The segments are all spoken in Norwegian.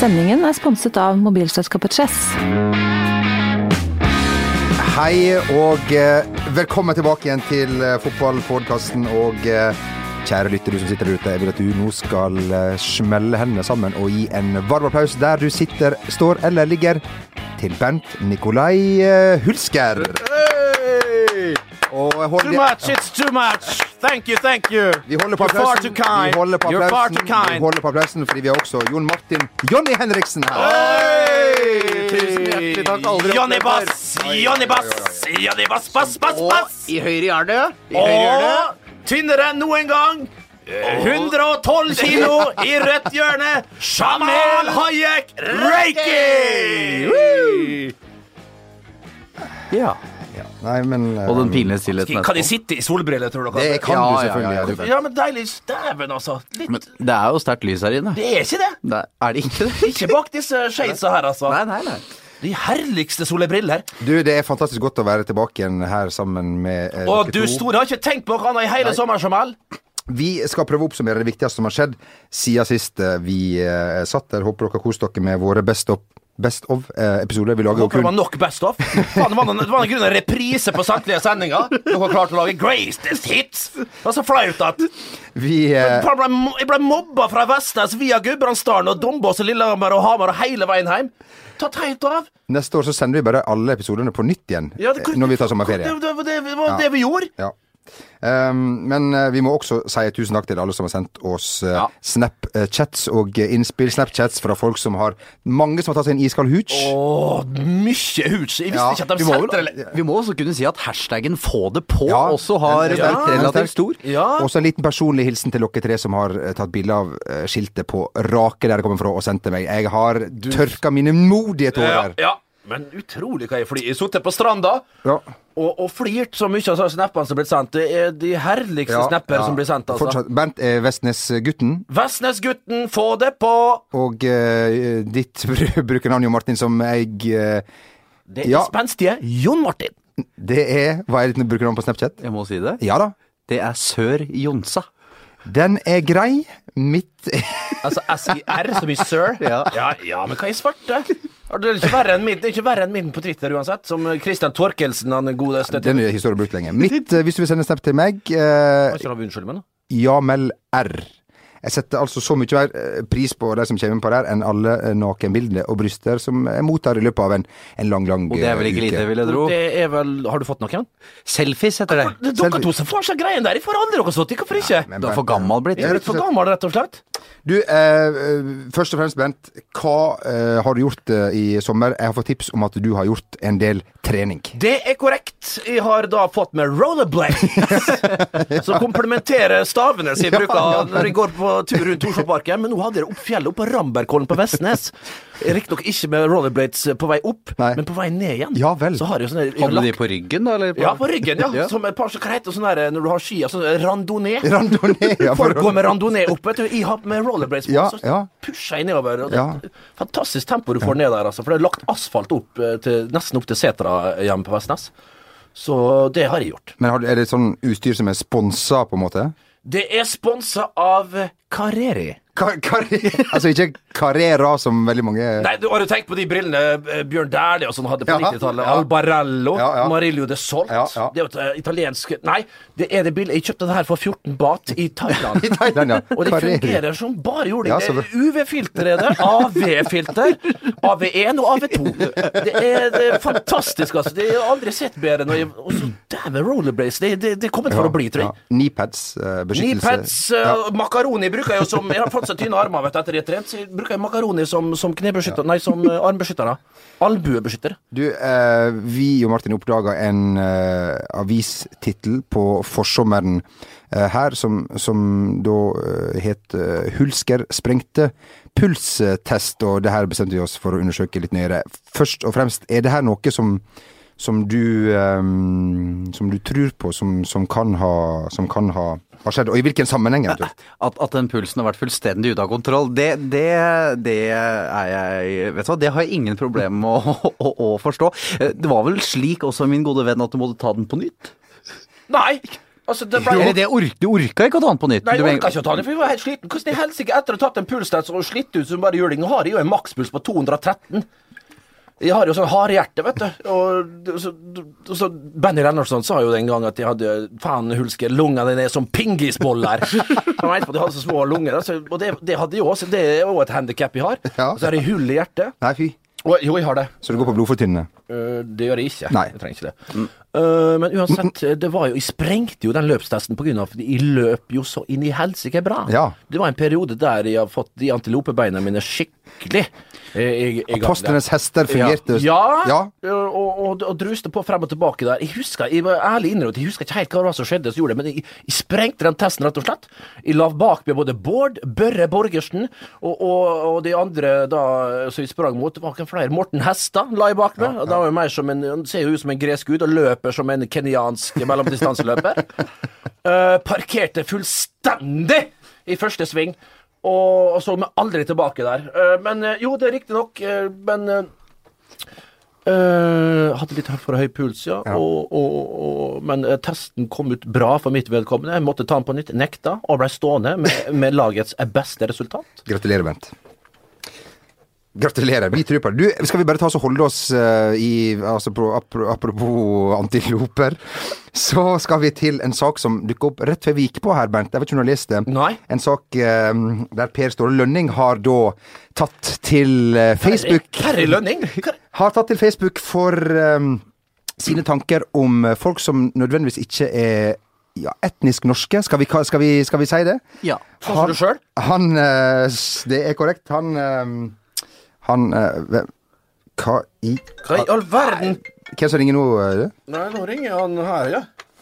Sendingen er sponset av mobilselskapet Chess. Hei og eh, velkommen tilbake igjen til eh, fotballpodkasten. Og eh, kjære lytter, du som sitter der ute, jeg vil at du nå skal eh, smelle hendene sammen og gi en varm applaus der du sitter, står eller ligger, til Bent Nikolai eh, Hulsker. Og jeg Too holder, much, it's too much. Thank you, thank you. vi holder på You're far applausen. too kind. Vi holder på You're far applausen, too kind. vi holder på applausen fordi vi har også Jon Martin Jonny Henriksen her. Tusen hjertelig takk, aldri Johnny opplevd Bass, før. Oi, Johnny oi, Bass, oi, Johnny Bass, Bass, Bass, Bass. I høyre hjørne. I høyre hjørne. Og tynnere enn noen gang. 112 kilo i rødt hjørne. Jamal Hayek Reiki! Ja. Nei, men eh, Og den pinlige stillheten Kan de etterpå. sitte i solbriller, tror dere? Det kan Ja, du ja, selvfølgelig. ja, ja. Albert. Ja, men deilig. Dæven, altså. Men Litt. det er jo sterkt lys her inne. Det er ikke det. Det er, er det ikke det? Ikke bak disse shadesa her, altså. Nei, nei, nei. De herligste solbriller. Du, det er fantastisk godt å være tilbake igjen her sammen med eh, Og dere du to. store har ikke tenkt på noe annet i hele sommeren, Jamal. Vi skal prøve å oppsummere det viktigste som har skjedd siden sist eh, vi eh, satt der. Håper dere har kost dere med våre Best, of- best of-episoder. vi lager jo Håper det var kun nok Best of. Faen, det var noen- det var i grunnen en reprise på samtlige sendinger. Dere har klart å lage greatest hits. Det var så flaut at vi, eh, Faen, ble, mo- jeg ble mobba fra Vestnes via Gudbrandsdalen og Dombås og Lillehammer og Hamar og hele veien hjem. Tatt helt av. Neste år så sender vi bare alle episodene på nytt igjen Ja, det- eh, når vi tar sommerferie. Det, det, det, det var Ja. det vi gjorde. Ja. Ehm, men eh, vi må også si tusen takk til alle som har sendt oss eh, Ja. Snapchats og eh, innspill. Snapchats fra folk som har Mange som har tatt seg en iskald hooch. Åh, mye hooch. Jeg visste Ja, ikke at Vi de må, sendte vel, det. vi må også kunne si at hashtaggen 'få det på' Ja, også har den er blitt sterk, den er sterk. relativt stor. Ja. Også en liten personlig hilsen til dere tre som har eh, tatt bilde av eh, skiltet på Rake der det kommer fra, og sendt til meg. Jeg har tørka mine modige Ja, tårer. ja. Men utrolig hva jeg flyr. Jeg satt på stranda. Ja. Og, og flirt så mye av de snappene som blir sendt. Det er de herligste Ja, snapper ja. som blir sendt. altså Fortsatt. Bernt er Vestnes-gutten, Vestnesgutten, få det på! og eh, ditt br- brukernavn, Jo Martin, som jeg eh, Det er Ja. spenstige Jon Martin. Det er Hva er ditt brukernavn på Snapchat? Jeg må si det. Ja da. Det er Sør Jonsa. Den er grei. Mitt Altså SIR, som i sir. ja. Ja, men hva i svarte? Ja, Det er ikke verre enn min, det er ikke verre enn min på Twitter uansett, som Christian Torkelsen, han godeste Den er historien brukt lenge. Mitt, eh, hvis du vil sende en snap til meg, eh, Hva skal han unnskylde meg nå? Jamel R. Jeg setter altså så mye mer eh, pris på de som kommer på der, enn alle eh, nakenbildene og bryster som jeg mottar i løpet av en, en lang, lang Og det er vel eh, ikke lite, vil jeg tro. Det er vel Har du fått noen? Selfies heter det. Det er Dere to som får seg greien der, jeg får aldri dere stått i, hvorfor ikke? men- eh, Du er for gammel blitt. Jeg er litt for gammel, rett og slett. Du, eh, eh, først og fremst, Bent. Hva eh, har du gjort eh, i sommer? Jeg har fått tips om at du har gjort en del trening. Det er korrekt. Jeg har da fått med rollerblades, som komplementerer stavene som jeg bruker når jeg går på tur rundt Osloparken. Men nå hadde jeg det opp fjellet, opp på Rambergkollen på Vestnes. Riktignok ikke med rollerblades på vei opp, Nei. men på vei ned igjen. Ja vel. Så har jeg jo sånne jeg har Hadde de lagt- på ryggen, da? Eller ja, på ryggen, ja. Ja. Som et par, så hva heter det sånn der når du har skia? Sånn randonee. Randonee, ja, for- Folk går med randonee opp, vet du. Jeg har med rollerblades på, Ja, så ja. pusher jeg nedover. Og det, Ja. Fantastisk tempo du får ned der, altså. For det er lagt asfalt opp eh, til, nesten opp til setra eh, hjemme på Vestnes. Så det har jeg gjort. Men har, du- er det sånn utstyr som er sponsa, på en måte? Det er sponsa av Carreri. Kar kar altså ikke Carrera, som veldig mange Nei, du har jo tenkt på de brillene eh, Bjørn Dæhlie og sånn hadde på Ja, 90-tallet. ja. Albarello, Ja, ja. Marillo de Solt. Ja, ja. Det er jo et eh, italiensk Nei, det er det bildet. Jeg kjøpte det her for 14 bat i Thailand. I Thailand, ja. Og det Carrera. fungerer som bare jording. Ja, Det så er bra. UV-filter er det, AV-filter, AV1 og AV2. Det er, det er fantastisk, altså. Det har jeg aldri sett bedre. Når jeg, og så dæven rollerblades. Det, det, det er kommet for å bli, tror jeg. Kneepads, eh, beskyttelse. Kneepads, eh, makaroni bruker jeg jo som Jeg har fått så tynne armer vet du, etter jeg har trent, så jeg bruker jeg makaroni som, som knebeskytter Nei, som eh, armbeskytter. da. Albuebeskytter. Du, eh, vi og Martin oppdaga en eh, avistittel på forsommeren eh, her, som, som da eh, het eh, 'Hulsker sprengte pulstest', og det her bestemte vi oss for å undersøke litt nøyere. Først og fremst, er det her noe som, som du eh, Som du tror på, som, som kan ha Som kan ha, ha skjedd? Og i hvilken sammenheng, eventuelt? At, at den pulsen har vært fullstendig ute av kontroll, det, det, det er jeg Vet du hva, det har jeg ingen problemer med å, å, å forstå. Eh, Det var vel slik også, min gode venn, at du måtte ta den på nytt? Nei! Altså, det ble... Eller det ork, du orka ikke å ta den på nytt? Nei, Du jeg mener- orka ikke å ta den, for jeg var helt sliten. Hvordan i helsike, etter å ha tatt en pulsdans og slitt ut som bare juling, nå har jeg jo en makspuls på 213. Jeg har jo sånn hardhjerte, vet du. Og, så, så Benny Lennartson sa jo den gang at jeg hadde Faen, Hulsker, lungene dine er som pingisboller. Han mente på at de hadde så små lunger. Altså, og det, det hadde jeg òg, så det er òg et handikap jeg har. Ja. Og så har jeg hull i hjertet. Nei, fy. Og, jo, jeg har det. Så det går på blodfortynnende. Øh, det gjør jeg ikke. Nei. Mm. Jeg trenger ikke det. Øh, men uansett, det var jo, jeg sprengte jo den løpstesten pga. at jeg løp jo så inn i helsike bra. Ja. Det var en periode der jeg har fått de antilopebeina mine skikkelig eh, i- i gang der. Apostlenes hester fungerte. Ja, ja. ja. Og, og, og druste på frem og tilbake der. Jeg husker, jeg var ærlig innrømt, jeg husker ikke helt hva det var som skjedde, som gjorde det, men jeg, jeg sprengte den testen, rett og slett. Jeg la bak meg både Bård, Børre Borgersen og, og, og de andre da som jeg sprang mot. Det var ikke flere. Morten Hestad la jeg bak meg. og da var jeg mer som en, Han ser jo ut som en gresk gud og løper som en kenyansk mellomdistanseløper. Eh, parkerte fullstendig i første sving. Og og så meg aldri tilbake der. Eh, men eh, jo, det er riktig nok, eh, men eh, Eh, hadde litt for høy puls, ja. Og, og, og, men eh, testen kom ut bra for mitt vedkommende. Jeg måtte ta den på nytt, nekta, og ble stående med, med lagets beste resultat. Gratulerer, Bent. Gratulerer. Vi tror på det. Du, skal vi bare ta oss og holde oss eh, i altså, pro, apro- Apropos antiloper, så skal vi til en sak som dukket opp rett før vi gikk på her, Bernt. Jeg vet ikke om du har lest det? Nei. En sak eh, der Per Ståle Lønning har da tatt til eh, Facebook Kari Lønning! Kari- har tatt til Facebook for ehm, sine tanker om eh, folk som nødvendigvis ikke er ja, etnisk norske. Skal vi, ka- skal vi, skal vi si det? Ja. Sånn som du selv? Han eh, s- Det er korrekt. Han ehm, Han eh, hvem- Hva i Hva i all verden? Hvem som ringer nå? eh, Nei, nå ringer han her, ja.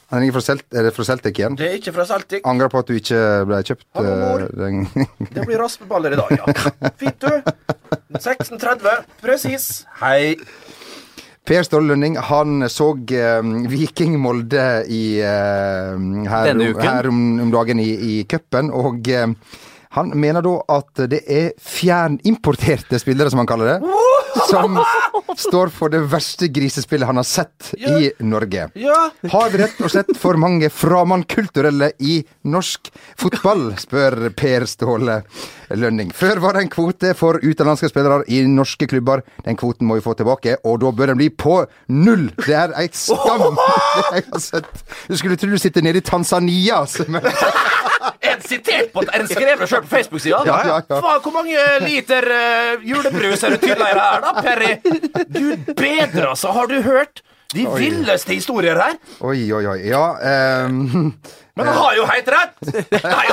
Han ringer fra, Celt, er det fra Celtic igjen. Det er ikke fra Celtic. Angrer på at du ikke ble kjøpt. Hallo, mor. eh, den. Det blir raspeballer i dag, ja. Fint, du. 16.30, presis. Hei. per Ståle Lønning han så ehm, Viking Molde i, ehm, her, Denne uken. her om, om dagen i, i cupen, og ehm, han mener da at det er fjernimporterte spillere, som han kaller det, som står for det verste grisespillet han har sett i Norge. Ja. Har vi rett og slett for mange framandkulturelle i norsk fotball, spør Per Ståle Lønning. Før var det en kvote for utenlandske spillere i norske klubber. Den kvoten må vi få tilbake, og da bør den bli på null! Det er ei skam! Det jeg har sett. Du skulle tro du sitter nede i Tanzania. altså, men- Er det sitert på at Er det skrevet sjøl på Facebook-sida? Ja, ja, ja. Faen, hvor mange liter eh, julebrus er du tylla i det her, da, Perry? Gud bedre, altså! Har du hørt de villeste historier her? Oi, oi, oi. Ja, ehm, Men han har jo helt rett! Nei,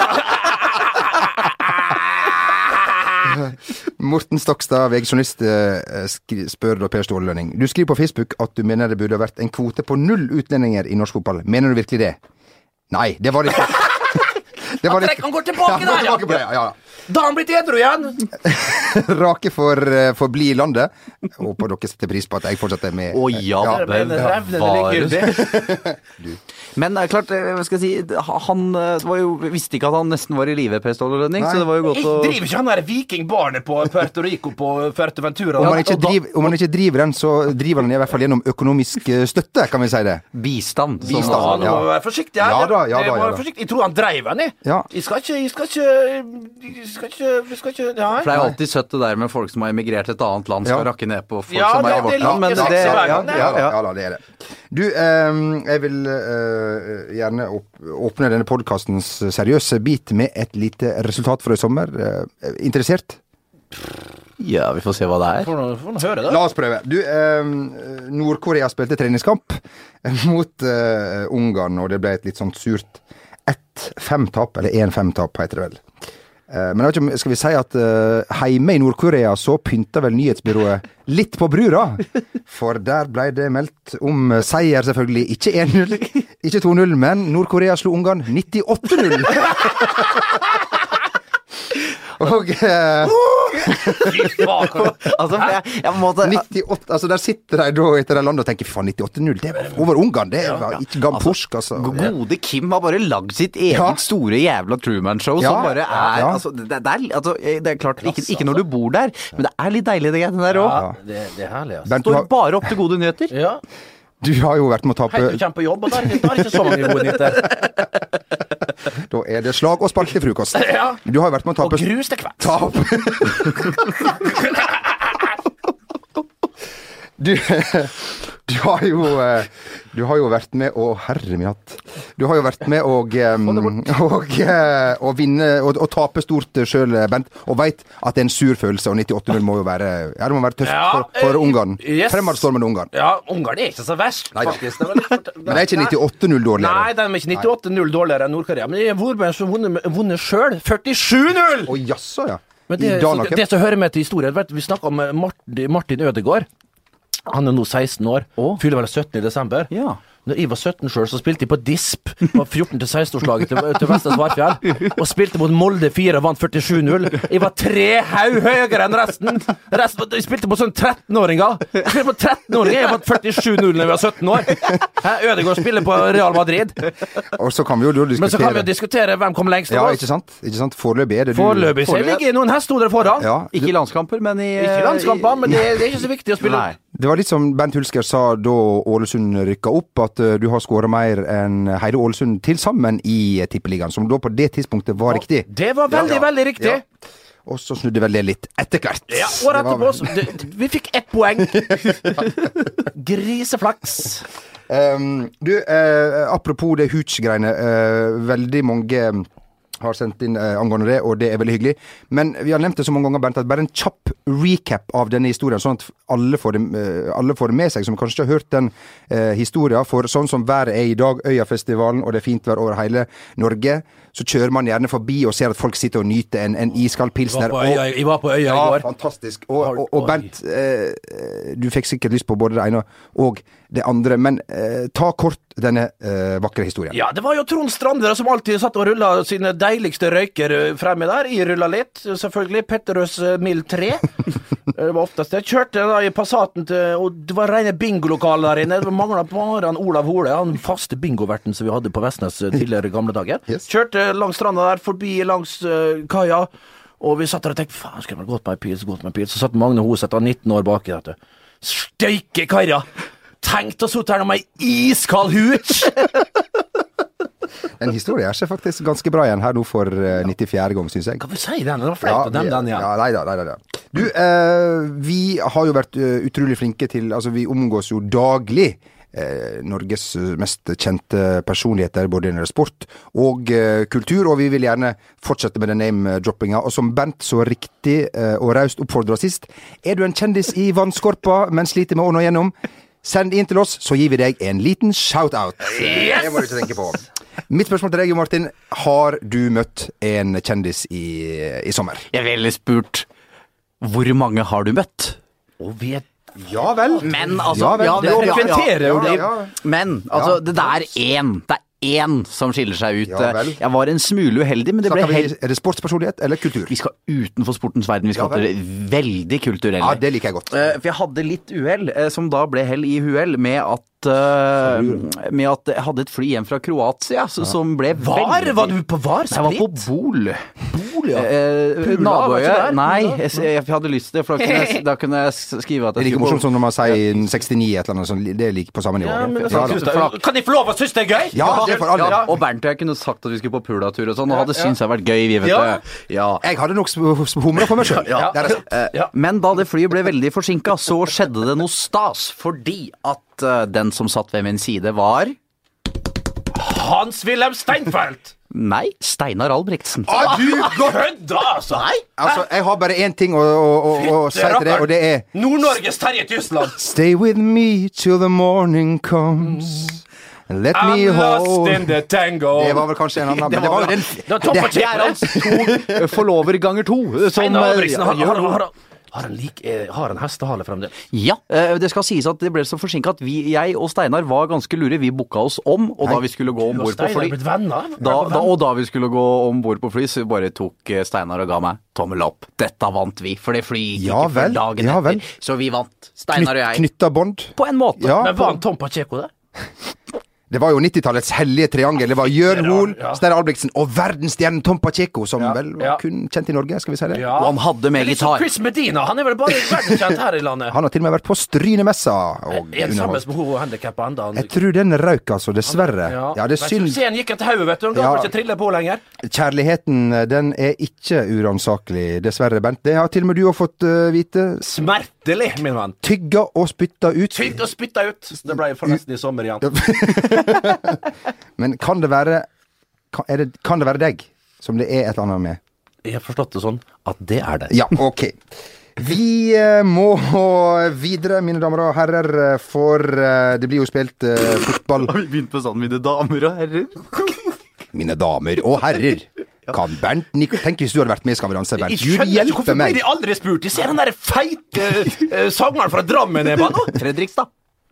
Morten Stokstad, VG-journalist, eh, skri- spør da Per Ståle Lønning. Du skriver på Facebook at du mener det burde ha vært en kvote på null utlendinger i norsk fotball. Mener du virkelig det? Nei, det var det ikke. Det var Han det trekker- ikke. han går tilbake Ja, han går der, tilbake på det, ja, ja. Da har han blitt edru igjen! Rake for, eh, for bli i landet. Håper dere setter pris på at jeg fortsetter med Å ja, Ja, men revnende bevares. Men det er klart, eh, hva skal jeg si, han eh, var jo, visste ikke at han nesten var i live, Per Ståle Lønning, Nei. så det var Jeg jo godt å driver ikke han der vikingbarnet på Puerto Rico på Fuerteventura? Om man, da? ikke og da- driver, om man ikke driver den, så driver den i hvert fall gjennom økonomisk eh, støtte, kan vi si det. Bistand. som- Bistand. Ja, nå må Ja. vi være forsiktig her. Ja da, ja Jeg da, må ja være da. forsiktig. Jeg tror han dreiv den, jeg. Ja. Jeg skal ikke Jeg skal ikke Jeg skal ikke, jeg skal ikke Nei. For det er jo alltid søtt det der med folk som har emigrert til et annet land, skal Ja. rakke ned på folk Ja, som er det- i vårt det liker land. Men jeg det, ikke så ja, veldig. ja, ja, ja, ja da, det er det. Du, ehm, jeg vil eh, gjerne åp åpne denne podkastens seriøse bit med et lite resultat fra i sommer. Eh, interessert? ja, vi får se hva det er. Får nå- Får nå høre det. La oss prøve. Du, ehm, Nord-Korea spilte treningskamp mot eh, Ungarn, og det ble et litt sånt surt 1-5-tap, eller 1-5-tap heter det vel. Eh, men jeg vet ikke om, skal vi si at eh, hjemme i Nord-Korea så pynta vel nyhetsbyrået litt på brura? For der ble det meldt om eh, seier, selvfølgelig. Ikke 1-0, ikke 2-0, men Nord-Korea slo Ungarn 98-0. Og eh, Fy faen. Altså, for jeg, jeg måtte, 98, altså Der sitter de da etter det landet og tenker faen, 98-0, det var over Ungarn, det var ikke gammel porsk, altså. Gode Kim har bare lagd sitt eget Ja. store jævla Truman-show Ja. som bare er Ja. altså. altså, det, det, er, altså, det er klart, ikke, ikke når du bor der, men det er litt deilig det greiene der òg. det, det er herlig, altså. Bernt, du Står har, bare opp til gode nyheter. Ja. Du har jo vært med å Helt til tape du kommer på jobb, og da er det da er det ikke så mange gode nyheter. Da er det slag og spark til frokost. Ja. Du har jo vært med å Og tape grus til kveld. Tap. Du, du har jo eh, Du har jo vært med å Herre min hatt. Du har jo vært med å em, og, eh, å vinne og, og tape stort eh, sjøl, Bent. Og veit at det er en sur følelse, og 98-0 må jo være Ja, det må være tøft Ja, for, for eh, Ungarn. yes. Fremadstormende Ungarn. Ja, Ungarn er ikke så verst, Nei da. faktisk. Det var litt fort- Men det er ikke 98-0 dårligere. Nei, de er ikke 98-0 dårligere enn Nord-Korea. Men det er Vorberg som vunnet, vunnet sjøl. 47-0! Å jaså, ja. Men det, I så, Dana Cup. det som hører med til historien, vet, du, vi snakka om eh, Martin, Martin Ødegaard. Han er nå 16 år, Å. fyller vel 17 i desember. Ja. Når jeg var 17 sjøl, så spilte jeg på DISP på 14.-16-årslaget til, til Vestre Svartfjell. Og spilte mot Molde 4 og vant 47-0. Jeg var tre haug høyere enn resten! resten var- jeg spilte mot sånn 13-åringer! Jeg spilte på 13-åringer, jeg vant 47-0 da jeg var 17 år! Hæ, Ødegaard spiller på Real Madrid. Og så kan vi jo da Men så kan vi jo diskutere diskutere hvem kom lengst Ja, av ikke oss. sant? Ikke sant? Foreløpig er det du Foreløpig så Foreløpig. ligger jeg noen hestehoder foran. Ja, Ikke i landskamper, men i Eh, Ikke landskamper, men det, det er ikke så viktig å spille Nei. opp. Det var litt som Bent Hulsker sa da Ålesund rykka opp, at eh, du har skåra mer enn hele Ålesund til sammen i eh, Tippeligaen, som da på det tidspunktet var riktig. Det var veldig, Ja, ja. veldig riktig. Ja. Og så snudde vel det litt etter hvert. Ja, Året Det var- etterpå så det- det- Vi fikk ett poeng. Griseflaks. Ehm, du, eh, apropos det Hooch-greiene. eh, veldig mange eh, har sendt inn eh, angående det, og det er veldig hyggelig. Men vi har nevnt det så mange ganger, Bernt, at bare en kjapp recap av denne historien, sånn at alle får det, eh, alle får det med seg, som kanskje ikke har hørt den eh, historien. For sånn som været er i dag, Øyafestivalen, og det er fint vær over hele Norge, så kjører man gjerne forbi og ser at folk sitter og nyter en, en iskald pilsner. og- jeg var på øya ja, fantastisk. Og, og, og Oi. Bent, eh, du fikk sikkert lyst på både det ene og det andre, men eh, ta kort denne eh, vakre historien. Ja, det var jo Trond Strandere som alltid satt og rulla sine deiligste røyker eh, fremme der. Jeg rulla litt, selvfølgelig. Petterøes eh, Mild 3. Det var oftest det. Kjørte da i Passaten til Og det var rene bingolokalet der inne. Det mangla bare han Olav Hole, han faste bingoverten som vi hadde på Vestnes eh, tidligere i gamle dager. Yes. Kjørte langs stranda der, forbi langs eh, kaia. Og vi satt der og tenkte faen, skulle vel gått med ei pils, gått med ei pils. Så satt Magne Hoseth, han 19 år baki, vet du. Steike karra! Tenk å sitte her med ei iskald hooch! Den historien er seg faktisk ganske bra igjen her nå for eh, 94. gang, syns jeg. Hva vil du si den? Det var flaut å nevne den, ja. ja, nei da, nei da, nei da. Du, eh, vi har jo vært eh, utrolig flinke til Altså, vi omgås jo daglig eh, Norges eh, mest kjente personligheter, både innen sport og eh, kultur, og vi vil gjerne fortsette med den name-droppinga. Og som Bent så riktig eh, og raust oppfordra sist, er du en kjendis i vannskorpa, men sliter med å nå gjennom, send inn til oss, så gir vi deg en liten shout-out. Det må du ikke tenke på. Mitt spørsmål til deg, Jo Martin. Har du møtt en kjendis i, i sommer? Jeg ville spurt hvor mange har du møtt? Og vet Ja vel. Men altså Ja vel, ja, det det- ja, frekventerer jo ja, det. ja. Men altså, Ja. det det er én. Det er én som skiller seg ut. Eh, Ja vel. Jeg var en smule uheldig, men det ble Snakker vi, helt er det sportspersonlighet eller kultur? Vi skal utenfor sportens verden. Vi skal Ja til vel. det veldig kulturelle. Ja, det liker jeg godt. Eh, For jeg hadde litt uhell, eh, som da ble hell i uhell, med at eh, Med at jeg hadde et fly hjem fra Kroatia så, som ble Var? veldig- Var du på var? Jeg var på Bol. Bol, ja. Eh, Pula, var ikke Naboøya der? Nei, Pula? jeg, s- jeg hadde lyst til det, for da kunne jeg, da kunne jeg s- skrive at Det er jeg like skulle morsomt på som når man sier 69 et eller annet sånt. Det er like på samme nivå. Ja, men det Ja, er da. sant. Kan jeg få lov å synes det er gøy? Ja, det får alle. ja, og Bernt og jeg kunne sagt at vi skulle på pulatur og sånn, og hadde ja. syntes det hadde vært gøy, vi, vet Ja. du. Ja. Jeg hadde nok sp- sp- humra for meg sjøl. Ja. Det er sant. Eh, Ja. Men da det flyet ble veldig forsinka, så skjedde det noe stas. Fordi at eh, den som satt ved min side, var Hans-Wilhelm Steinfeld! Nei, Steinar Albrigtsen. Ah, du, godt. Kødda, altså! Altså, jeg har bare én ting å, å, å, å si til det, og det er Nord-Norges Terje Tysland. Stay with me till the morning comes. Mm. And let me I'm lost in hold the tango. Det var vel kanskje en annen, men det var jo den Det var topp det- av Det er hans to eh, forlover ganger to. Som, Einar Albrigtsen. eh, Har, gjør har, noe. har, har han lik, eh, har han hestehale fremdeles? Ja, eh, det skal sies at det ble så forsinka at vi, jeg og Steinar var ganske lure. Vi booka oss om, og da vi skulle gå om Du og bord på Steinar fly er blitt venner? da, da, og da vi skulle gå om bord på fly, så bare tok eh, Steinar og ga meg tommel opp. Dette vant vi, for det flyet gikk Ja ikke før vel, dagen ja vel. etter. Så vi vant, Steinar og Knyt- jeg. Knytta bånd. På en måte. Ja, Men var han Tom Pacheco, det? Det var jo 90-tallets hellige triangel. Det var Jørn Steinar, Hoel, ja. Steinar Albrigtsen og verdensstjernen Tom Pacheco, som Ja, vel ja. var kun kjent i Norge, skal vi si det. Ja. Og han hadde med Litt som gitar. Chris Medina, han er vel bare verdenskjent her i landet. Han har til og med vært på Strynemessa og Er han sammen underholdt. med hun handikappa ennå? Jeg tror den røyk, altså. Dessverre. Ja, det er synd. Scenen gikk etter hodet, vet du. Han gadd Ja. ikke trille på lenger. Kjærligheten, den er ikke uransakelig, dessverre, Bent. Det har til og med du òg fått eh, vite. Smertelig, min venn. Tygga og spytta ut. Tygd og spytta ut. Det ble forresten i sommer igjen. Men kan det være kan, er det, kan det være deg som det er et eller annet med? Jeg har forstått det sånn at det er det. Ja, ok. Vi eh, må videre, mine damer og herrer, eh, for eh, det blir jo spilt eh, fotball. Har vi begynt på sånn, mine damer og herrer? Mine damer og herrer, kan Bernt Nik... Tenk hvis du hadde vært med i Skal vi danse, Bernt. Jeg Gud skjønner ikke hjelpe hvorfor blir meg. de aldri spurt. Jeg ser han derre feite eh, sangeren fra Drammen jeg bare nå. Fredrikstad.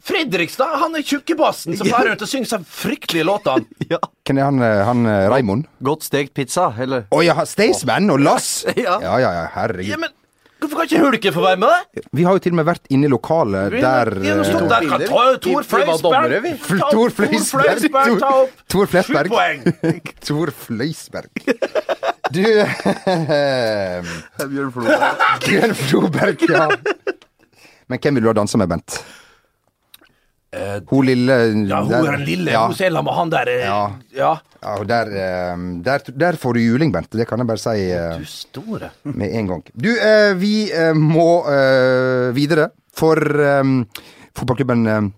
Fredrikstad, han er tjukkebassen som farer rundt og synger så fryktelige låter. Ja. Hvem er han, eh, han eh, Raimond? Godt stekt pizza, eller? Å ja, Staysman og Lass! Ja, Ja. ja, ja, Ja, herregud. men hvorfor kan ikke Hulken få være med? Vi har jo til og med vært inne i lokalet der eh, der kan ta Tor Vi- vi var dommere, vi. Fløysberg. Ta opp Tor Fløysberg. Tor Fløysberg, ta opp Tor Flesberg. sju poeng. Tor Fløysberg. Du Bjørn Bjørn Flo. Floberg, ja. Men hvem vil du ha dansa med, Bent? Hun lille Eh, Ja, hun er den lille. Ja, Hun som er sammen med han der. eh, Ja. ja. ja og der, eh, der, der får du juling, Bent. Det kan jeg bare si eh, Du store. med en gang. Du, eh, vi eh, må eh, videre, for eh, fotballklubben eh,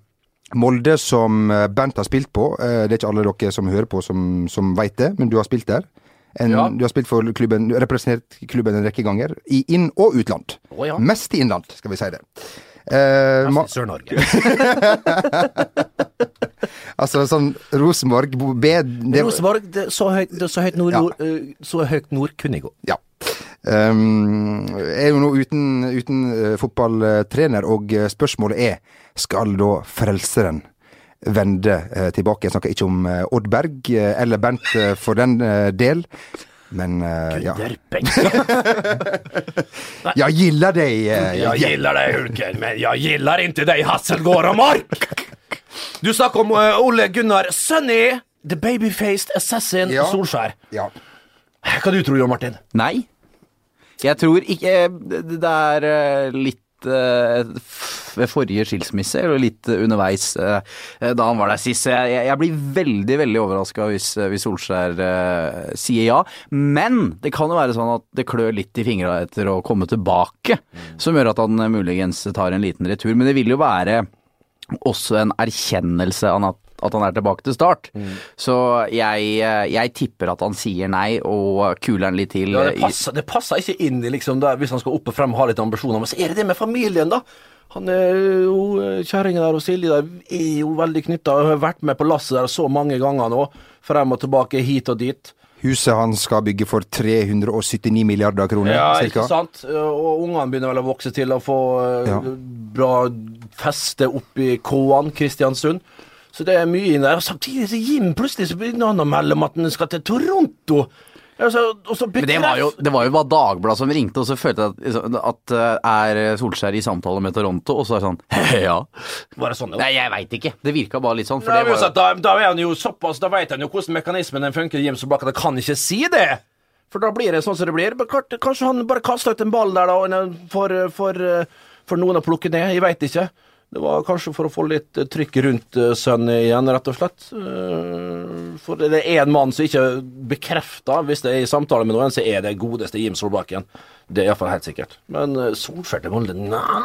Molde, som eh, Bernt har spilt på eh, Det er ikke alle dere som hører på, som, som veit det, men du har spilt der. En, Ja. Du har spilt for klubben, du har representert klubben en rekke ganger, i inn- og utland. Å ja. Mest i innland, skal vi si det. Eh, ma, Sør-Norge. altså sånn Rosenborg bo- B det, Rosenborg, det, så, høyt, det, så, høyt nord, Ja. nord, eh, så høyt nord kunne jeg gå. Ja. Um, er jo nå uten, uten eh, fotballtrener, og eh, spørsmålet er skal da frelseren vende eh, tilbake? Jeg snakker ikke om eh, Odd Berg eh, eller Bernt eh, for den eh, del, men eh, ja. Dørpeng. Jeg gillar deg! eh, Jeg gillar deg, Hulken, men jeg gillar ikke deg, Hasselgård og Mark! Du snakker om eh, Ole Gunnar Sunny, the babyfaced assassin Ja. Solskjær. ja. Hva du tror du, Jon Martin? Nei. Jeg tror ikke Det det er eh, litt eh, f- ved forrige skilsmisse, eller litt eh, underveis eh, da han var der sist. Så Jeg, jeg- jeg blir veldig veldig overraska hvis, eh, hvis Solskjær eh, sier ja. Men det kan jo være sånn at det klør litt i fingra etter å komme tilbake, som gjør at han eh, muligens tar en liten retur. Men det vil jo være også en erkjennelse av at, at han er tilbake til start. Mm. Så jeg, eh, jeg tipper at han sier nei og kuler han litt til. Ja, det, i- passer, det passer ikke inn i liksom der, hvis han skal opp og frem og ha litt ambisjoner. Men så er det det med familien, da. Han er jo eh, Kjerringa der og Silje der er jo veldig knytta. Har vært med på lasset der så mange ganger nå. Frem og tilbake, hit og dit. Huset han skal bygge for 379 milliarder kroner, Ja, cirka. Eh, ikke sant? Og ungene begynner vel å vokse til å få eh, Ja. bra feste oppi K-an, Kristiansund. Så det er mye inn der. Og samtidig så gir han plutselig så begynner han å melde om at han skal til Toronto. Altså, og så Men det var jo, det var jo bare Dagbladet som ringte, og så følte jeg at, liksom, at eh, er Solskjær i samtale med Toronto, og så er det sånn ja. Var det sånn, det var? Nei, jeg veit ikke. Det virka bare litt sånn. For Nei, men det var uansett, jo, da, da er han jo såpass, da vet han jo hvordan mekanismen den funker. Jim Solbakken han kan ikke si det! For da blir det sånn som det blir. Men klart, kanskje han bare kaster ut en ball der, da, og en- for, for, eh, for noen å plukke ned. Jeg veit ikke. Det var kanskje for å få litt eh, trykk rundt eh, sønnen igjen, rett og slett. Eh, For det er én mann som ikke bekrefter, hvis det er i samtale med noen, så er det godeste Jim Solbakken. Det er iallfall helt sikkert. Men eh, Solskjær til Molde, nei.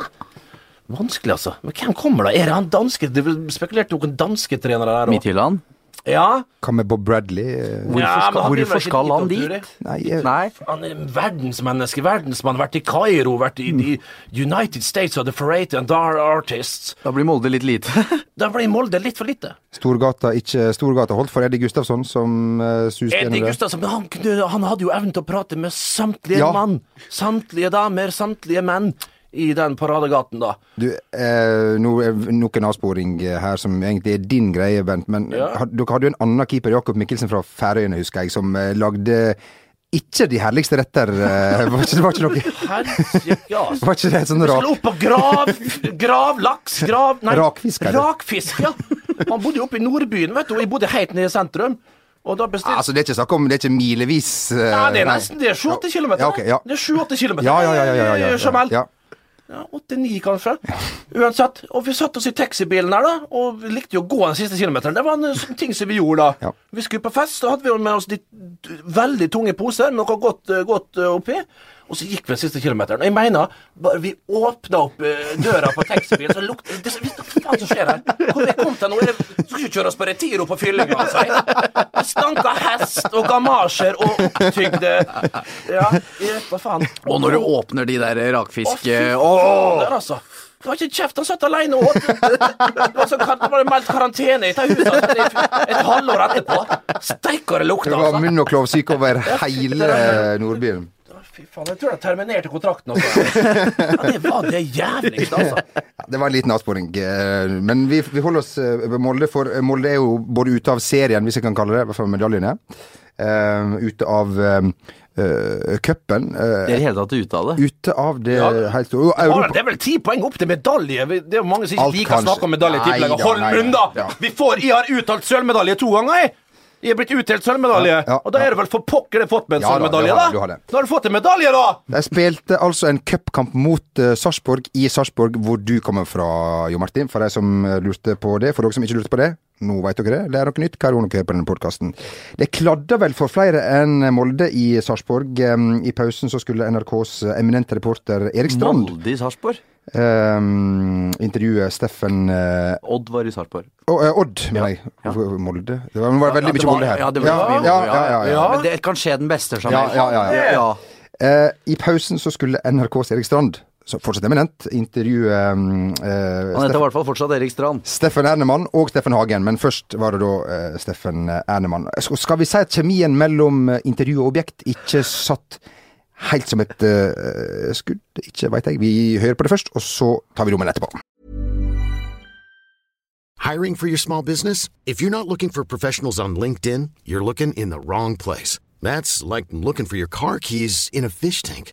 Vanskelig, altså. Men hvem kommer da? Er det han danske? Det ble spekulert noen danske trenere der òg. Midtjylland. Ja. Hva med Bob Bradley? eh, ja, men han driver Hvorfor ikke skal han diktatur, dit? i. Nei, eh, jeg, Nei. Han er en verdensmenneske, verdensmann. Vært i Kairo, vært i de United States of the Ferrate and Dar Artists. Da blir Molde litt lite. Da blir Molde litt for lite. Storgata, ikke Storgata holdt for Eddie Gustavsson, som uh, suste Eddie gjennom det. Gustavsen, men han, kunne- han hadde jo evnen til å prate med samtlige Ja. mann. Samtlige damer, samtlige menn i den paradegaten, da. Du, eh, nå er nok en avsporing eh, her som egentlig er din greie, Bent. Men Ja. har, dere hadde jo en annen keeper, Jakob Mikkelsen fra Færøyene, husker jeg, som eh, lagde ikke de herligste retter. eh, var ikke, det var ikke noe Helsike, altså. Var ikke det sånn Skulle rak opp og grav, grav laks, grav nei, Rakfisk, er det. rakfisk, ja. Han bodde jo oppe i Nordbyen, vet du, og jeg bodde helt nede i sentrum. Og da bestilte Altså, det er ikke snakk om Det er ikke milevis eh, Nei, det er nei. nesten det er 7-8 km. Ja, ok, ja. Det er 7-8 km. Ja, ja, ja, ja, ja, ja, ja, Jamel. ja. Ja, 89 kanskje. Uansett. Og vi satte oss i taxibilen her, da, og vi likte jo å gå den siste kilometeren. Det var en eh, ting som vi gjorde da. Ja. Vi skulle på fest, da hadde vi jo med oss de d- veldig tunge poser, noe godt, eh, godt eh, oppi. Og så gikk vi den siste kilometeren. Og jeg mener, bare vi åpna opp eh, døra på taxibilen, så lukta det så- Hva faen som skjer her? Hvor jeg kom til nå? Er det- Skal ikke kjøre oss på Retiro på fyllinga, altså? jeg. Det stanka hest og gamasjer og opptygde Ja, jeg- hva faen? Og når du åpner de der eh, Å, fy rakfiske faen, der, altså. Det var ikke kjeft, han satt alene og åt. Det var, sånn, det var meldt karantene i dette huset altså, et, et halvår etterpå. Steike, det lukta, Det var altså. munn- og klovsyke over hele Nordbyen. Fy faen, jeg tror de terminerte kontrakten også. Ja, det var det jævligste, altså. Ja, Det var en liten avsporing. eh, Men vi, vi holder oss eh, ved Molde, for eh, Molde er jo både ute av serien, hvis jeg kan kalle det, i hvert fall medaljene. eh, ute av eh, eh, cupen. Det er i eh, det hele tatt ute av det. ute av det Ja. helt store og Arne, Europa. det er vel ti poeng opp til medalje? Vi- Det er jo mange som ikke Alt liker å kanskje. snakke om medalje. i Nei tippelaget. da, Hold nei munn, da. da! Ja. Vi får, Jeg har uttalt sølvmedalje to ganger, jeg! Jeg er blitt utdelt sølvmedalje. Ja, ja, og da er det vel for pokker det fått med en Ja da, du sølvmedalje, har det, da! du har det. Da har du fått en medalje, da! De spilte altså en cupkamp mot eh, Sarpsborg i Sarpsborg, hvor du kommer fra, Jo Martin. For de som eh, lurte på det. For dere som ikke lurte på det, nå veit dere det. Lær dere nytt hver gang dere hører på denne podkasten. Det kladda vel for flere enn Molde i Sarpsborg. Em, I pausen så skulle NRKs eh, eminente reporter Erik Strand Molde i Sarpsborg. em, intervjue Steffen eh, Odd var i Sarpsborg. Å, eh, Odd, mener jeg. Hvorfor Molde? Det var, det var veldig mye Molde her. Ja, det var ja, mye Molde, ja, ja, ja, ja. Ja. Men det kan skje den beste, Jamel. Ja, ja, ja, ja. Eh, I pausen så skulle NRKs Erik Strand, som fortsatt eminent, intervjue um, eh, Han heter i Steff- hvert fall fortsatt Erik Strand. Steffen Ernemann og Steffen Hagen, men først var det da eh, Steffen Ernemann. Sk- Skal vi si at kjemien mellom eh, intervju og objekt ikke satt helt som et eh, skudd? Ikke veit jeg. Vi hører på det først, og så tar vi dommen etterpå. Hiring for your small business? If you're not looking for professionals on LinkedIn, you're looking in the wrong place. That's like looking for your car keys in a fish tank.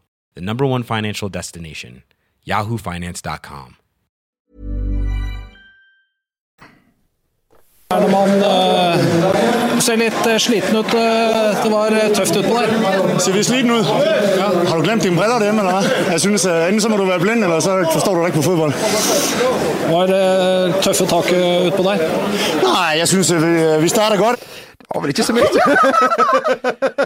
the number one financial destination, yahoofinance.com. Ernemann eh, ser litt eh, sliten ut. eh, Det var eh, tøft utpå der. Ser vi sliten ud? Ja. Har du glemt dine briller derhjemme, eller hvad? Jeg synes, at enten så må du være blind, eller så forstår du da ikke på fodbold. Det var eh, tøffe tak eh, utpå der. eh, er Nej, jeg synes, at vi, vi starter godt. Har vel ikke så mye.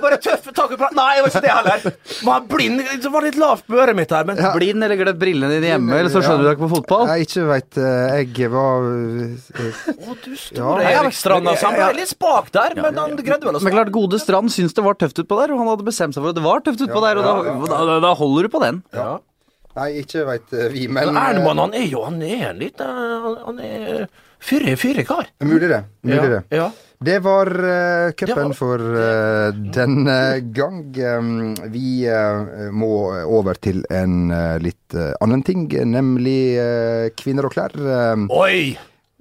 Bare tøffe tak i prat. Nei, det var ikke det heller. Var blind. Det var litt lavt på øret mitt her, men Blind eller gløtt brillene dine hjemme, eller så skjønner du deg ikke på fotball. Jeg ikke veit Jeg var eh, Å, du Ja, store jeg- Erik Strand, altså. Han ble litt spak der, men han greide vel å Men klart, Gode Strand syns det var tøft utpå der, og han hadde bestemt seg for at det var tøft utpå der, og da, da, da, da holder du på den. Nei, ikke veit vi, men Men eh, Ernemann, han er jo han er en litt eh, Han han er fyrig, fyrig kar. eh, Mulig det. Mulig det. Ja. Det var uh, Det cupen var- for eh, denne gang. Um, vi eh, må over til en eh, litt eh, annen ting, nemlig eh, kvinner og klær. Um, Oi!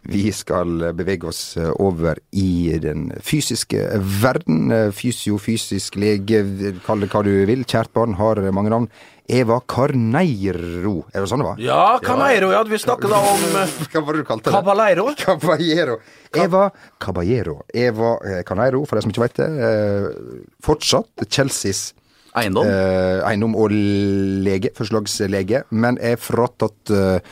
Vi skal bevege oss eh, over i den fysiske verden. Fysio, fysisk lege, kall det hva du vil. Kjært barn har mange navn. Eva Carneiro, er det sånn det var? Ja, Cameiro, ja. Vi snakker da om eh, Hva var det du kalte det? Cabaleiro. Caballero. Eva Caballero. Eva eh, Carneiro, for de som ikke vet det. eh, Fortsatt Chelseas Eiendom. eh, eiendom og lege, førstelagslege, men er fratatt eh,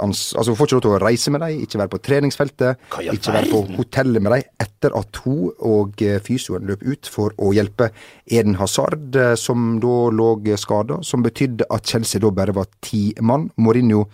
ans Altså, hun får ikke lov til å reise med dem, ikke være på treningsfeltet, Hva i all ikke være på hotellet med dem etter at hun og eh, fysioen løp ut for å hjelpe Eden Hazard, eh, som da lå skada, som betydde at Chelsea da bare var ti mann. Mourinho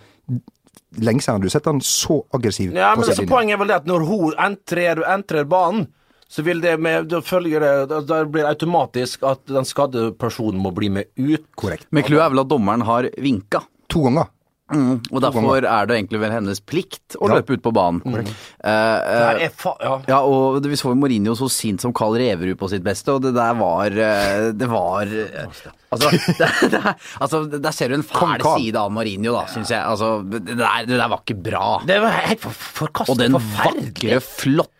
Lenge siden har du sett han så aggressiv Ja, men altså, sidelinjen. Poenget er vel det at når hun entrer, entrer banen, så vil det med Da følger det da, da blir det automatisk at den skadde personen må bli med ut. Korrekt. Men clouet er vel at dommeren har vinka. To ganger. Og derfor er det egentlig vel hennes plikt å Ja. løpe ut på banen. Eh, eh, Der er fa... Ja. ja, og det- Vi så jo Mourinho så sint som Carl Reverud på sitt beste, og det der var eh, Det var eh, Altså, det, det, er- altså der ser du en Kong fæl Carl. side av Mourinho, da, syns jeg. Altså, det der, det der var ikke bra. Det var helt for, Og forkastelig. den Forferdelig. vakre, flotte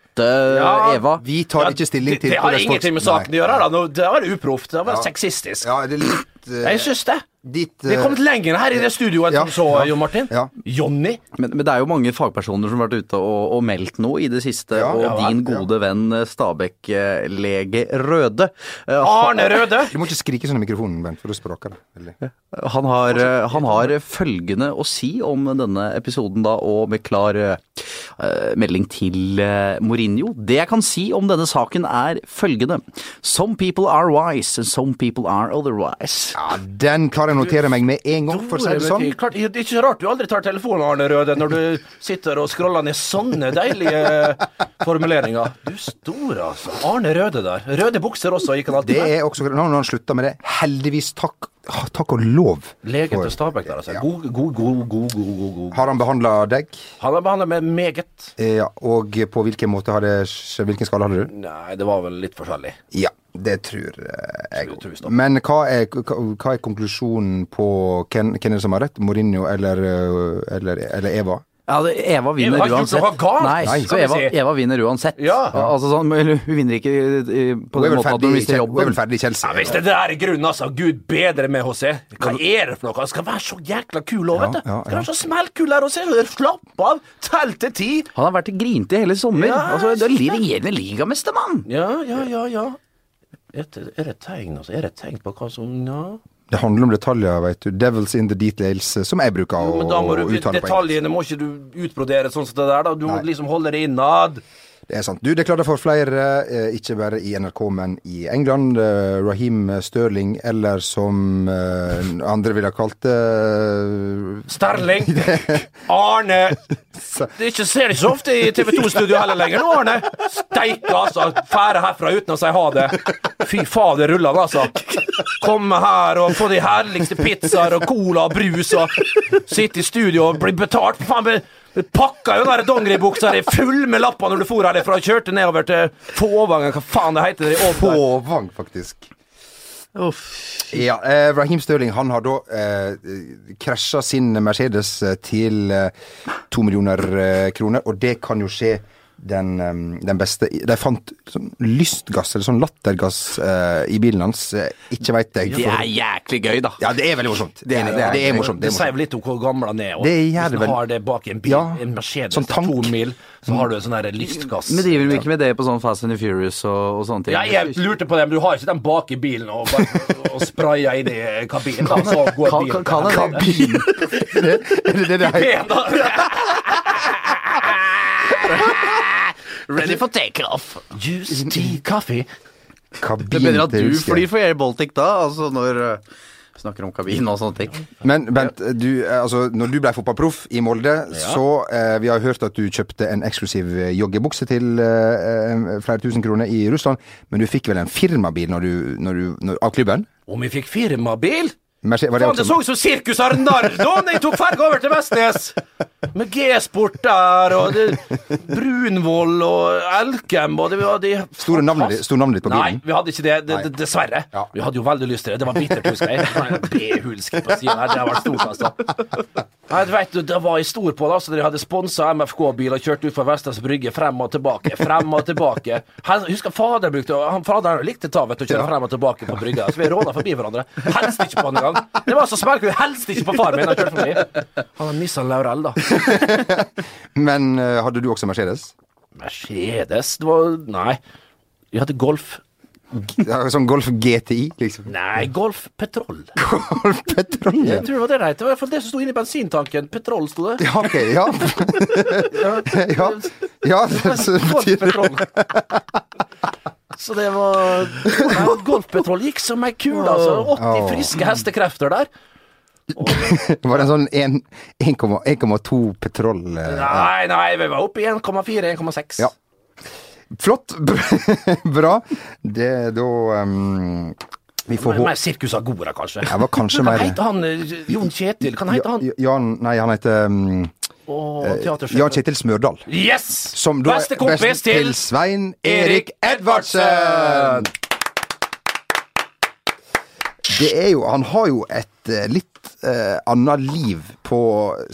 Ja, Eva. Vi tar ikke stilling til Det, det har hvordan folk- ingenting med Nei. saken å gjøre. Da. Nå- Det var uproft. Det var sexistisk. Ja, det er litt eh, Jeg syns det. ditt, Vi eh, er kommet lenger her i det studioet enn ja, som så, ja, Jo Martin. ja. Jonny. Men, men det er jo mange fagpersoner som har vært ute og, og meldt noe i det siste, Ja, og ja, din ja. gode venn eh, Stabæk-lege Røde eh, Arne Røde. Du må ikke skrike sånn i mikrofonen, Bent, for da spraker det. veldig. Han har, eh, han har følgende å si om denne episoden da, og med klar eh, eh, melding til eh, Mourinho. Det jeg kan si om denne saken er følgende. Some people are wise, and some people are otherwise. Ja, den klarer jeg å notere meg med en gang, for å si det sånn. Klart, Det er ikke så rart du aldri tar telefonen, Arne Røde, når du sitter og scroller ned sånne deilige eh, formuleringer. Du store, altså. Arne Røde der. Røde bukser også, gikk han alltid Det med. er også Nå når han slutta med det, heldigvis takk, ah, takk og lov. Legen for- til Stabæk der, altså. God, god, god, god, god, god, god. Har han behandla deg? Han er behandlet med meget. Eh, Ja, og på hvilken måte har det skjedd? Hvilken skala hadde du? Nei, det var vel litt forskjellig. Ja, det tror eh, jeg Tror- tror vi òg. stopper. Men hva er, hva hva er konklusjonen på hvem, hvem er det som har rett? Mourinho eller, eh, eller, eller Eva? Ja, det- Eva Eva vinner har ikke gjort uansett. noe galt, Nei, kan så vi Eva, si. Eva vinner uansett. Ja. Altså sånn, men Hun vinner ikke eh, Hun er på den vel måten at hun ferdig i mister Chel- hun er jobben. vel ferdig i Chelsea? Hvis det der er grunnen, altså. Gud bedre med HC. Hva er det for noe? Han skal være så jækla kul òg, vet du. ja, ja. Skal være så smellkul her og se. Slapp av. Tell til ti. Han har vært grinete hele sommer. Ja, altså, det er shit. regjerende ligamestermann! Ja, ja, ja, ja. Er det, er det tegn, altså? Er det tegn på hva som Ja. Det handler om detaljer, veit du. Devils in the details, eh, som jeg bruker Jo, å men da må du å uttale på engelsk. Detaljene må ikke du utbrodere sånn som det der, da. Du må liksom holde det innad. Det er sant. Du, det klarer for flere, eh, ikke bare i NRK, men i England. Eh, Raheem Sterling, eller som eh, andre ville ha kalt det eh, Sterling. Arne. Det er ikke, ser det ikke så ofte i TV2-studio heller lenger nå, Arne. Steike, altså. Fære herfra uten å si ha det. Fy fader, rullan, altså. Komme her og få de herligste pizzaer og cola og brus og sitte i studio og bli betalt. Faen, men du pakka jo den der dongeribuksa di full med lapper når du for herfra og kjørte nedover til Fåvangen, hva faen det heter. Det, Få. Påvang, faktisk. Ja, eh, Raheem Sterling han har da eh, krasja sin Mercedes eh, til eh, to millioner eh, kroner, og det kan jo skje den, eh, den beste De fant sånn lystgass, eller sånn lattergass, eh, i bilen hans. Eh, ikke veit jeg. Det for- er jæklig gøy, da. Ja, det er veldig morsomt. Det er- Enig, det er- det er morsomt. Det Det er sier morsomt. vel litt om hvor gammel han er. Og Det gjør det hvis vel. han har det bak en bil, Ja, en Mercedes sånn til to tank. Mm. mil, så har du en sånn her lystgass. Men driver vi ikke med det på sånn Fast and the Furious og, og sånne ting? Ja, jeg lurte på det, men du har ikke den bak i bilen og, bare- og sprayer inn i kabinen. da, Så går Kan- bilen. kan- kan jeg det? Er det det det heter? Ben, da. Ready for takeoff. Juice, tea, coffee. Kabin Det er bedre at til du Husker. flyr for Air Baltic da, altså når eh, vi snakker om kabin og sånne ting. Men Bent, du, eh, altså, når du ble fotballproff i Molde, så eh, Vi har hørt at du kjøpte en eksklusiv eh, joggebukse til eh, eh, flere tusen kroner i Russland, men du fikk vel en firmabil når du, når du, når, av klubben? Om jeg fikk firmabil? Merce- var det Faen, det så også- ut som Sirkus Arnardo da jeg tok ferga over til Vestnes! Med G-sport der, og det, Brunvoll og Elkem og det var de Store navnet ditt- store navnet ditt på bilen? Nei, vi hadde ikke det, det, det dessverre. Ja. Vi hadde jo veldig lyst til det. Det var bittert, husker jeg. B-hulske på siden her, det var stort, altså. Nei, du vet, det var jeg stor på det. altså. De hadde sponsa MFK-bil og kjørt ut fra Vestnes Brygge frem og tilbake. Frem og tilbake. Han, husker fader brukte han faderen likte ta, vet du, å kjøre frem og tilbake på brygga. Så vi råda forbi hverandre. Helst ikke på han engang. Det var så smerkelig. Helst ikke på far min. Han kjørte forbi. Han har Nissan Laurel, da. Men eh, hadde du også Mercedes? Mercedes det var, Nei. Vi hadde Golf. Ja, Sånn Golf GTI, liksom? Nei, Golf Petrol. Golf Petrol? Ja, Jeg tror det var det det het. Det var i hvert fall det som sto inni bensintanken. Petrol sto det. Ja, ok, ja. ja. ja det, så betyr det Golfpetrol. Så det var Nei, Golfpetrol gikk som ei kule, altså. 80 friske hestekrefter der. Var det en sånn en- 1,2 petrol? eh, Nei, nei, vi var oppe i 1,4-1,6. Ja. Flott! Bra. Det da ehm, Vi får håpe Mer Sirkus Agora, kanskje. Det var kanskje Hva mer heter han eh, Jon Kjetil? Kan hete han? Ja- Jan Nei, han heter ehm, Åh, Jan teatersjefen. Kjetil Smørdal. Yes! Som da er Beste kompis best til Svein Erik Erik Edvardsen! Det er jo Han har jo et eh, litt eh, annet liv på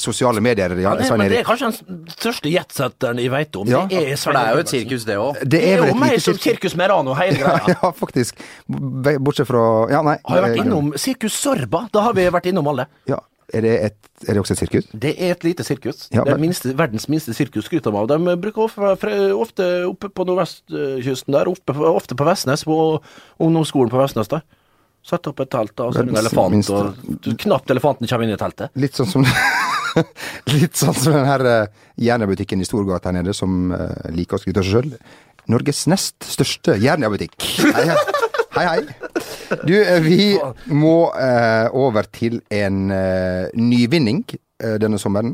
sosiale medier, Ja, Jan det, Svein men det er Erik. kanskje den største jetsetteren jeg veit om. Ja, det er For Svein det er jo et Edvardsen. sirkus, det òg. Det Det er jo vel et mer lite som sirkus- Sirkus Merano, hele greia. Ja, faktisk. B- Bortsett fra Ja, nei. Har jo vært eh, innom Sirkus Sorba. Da har vi vært innom alle. Ja. Er det, et, er det også et sirkus? Det er et lite sirkus. Ja, det er men- minste, verdens minste sirkus, skryter de av. De bruker ofte, fre- ofte oppe på nordvestkysten der, oppe, ofte på Vestnes, på ungdomsskolen på Vestnes der. Sette opp et telt, da, og så er det en Verdens elefant, minste- og du- knapt elefanten kommer inn i teltet. Litt sånn som Litt sånn som den her eh, Jernia-butikken i Storgata her nede, som eh, liker å skryte av seg sjøl. Norges nest største Jernia-butikk. Hei, hei. hei, hei. Du, eh, vi må eh, over til en eh, nyvinning eh, denne sommeren.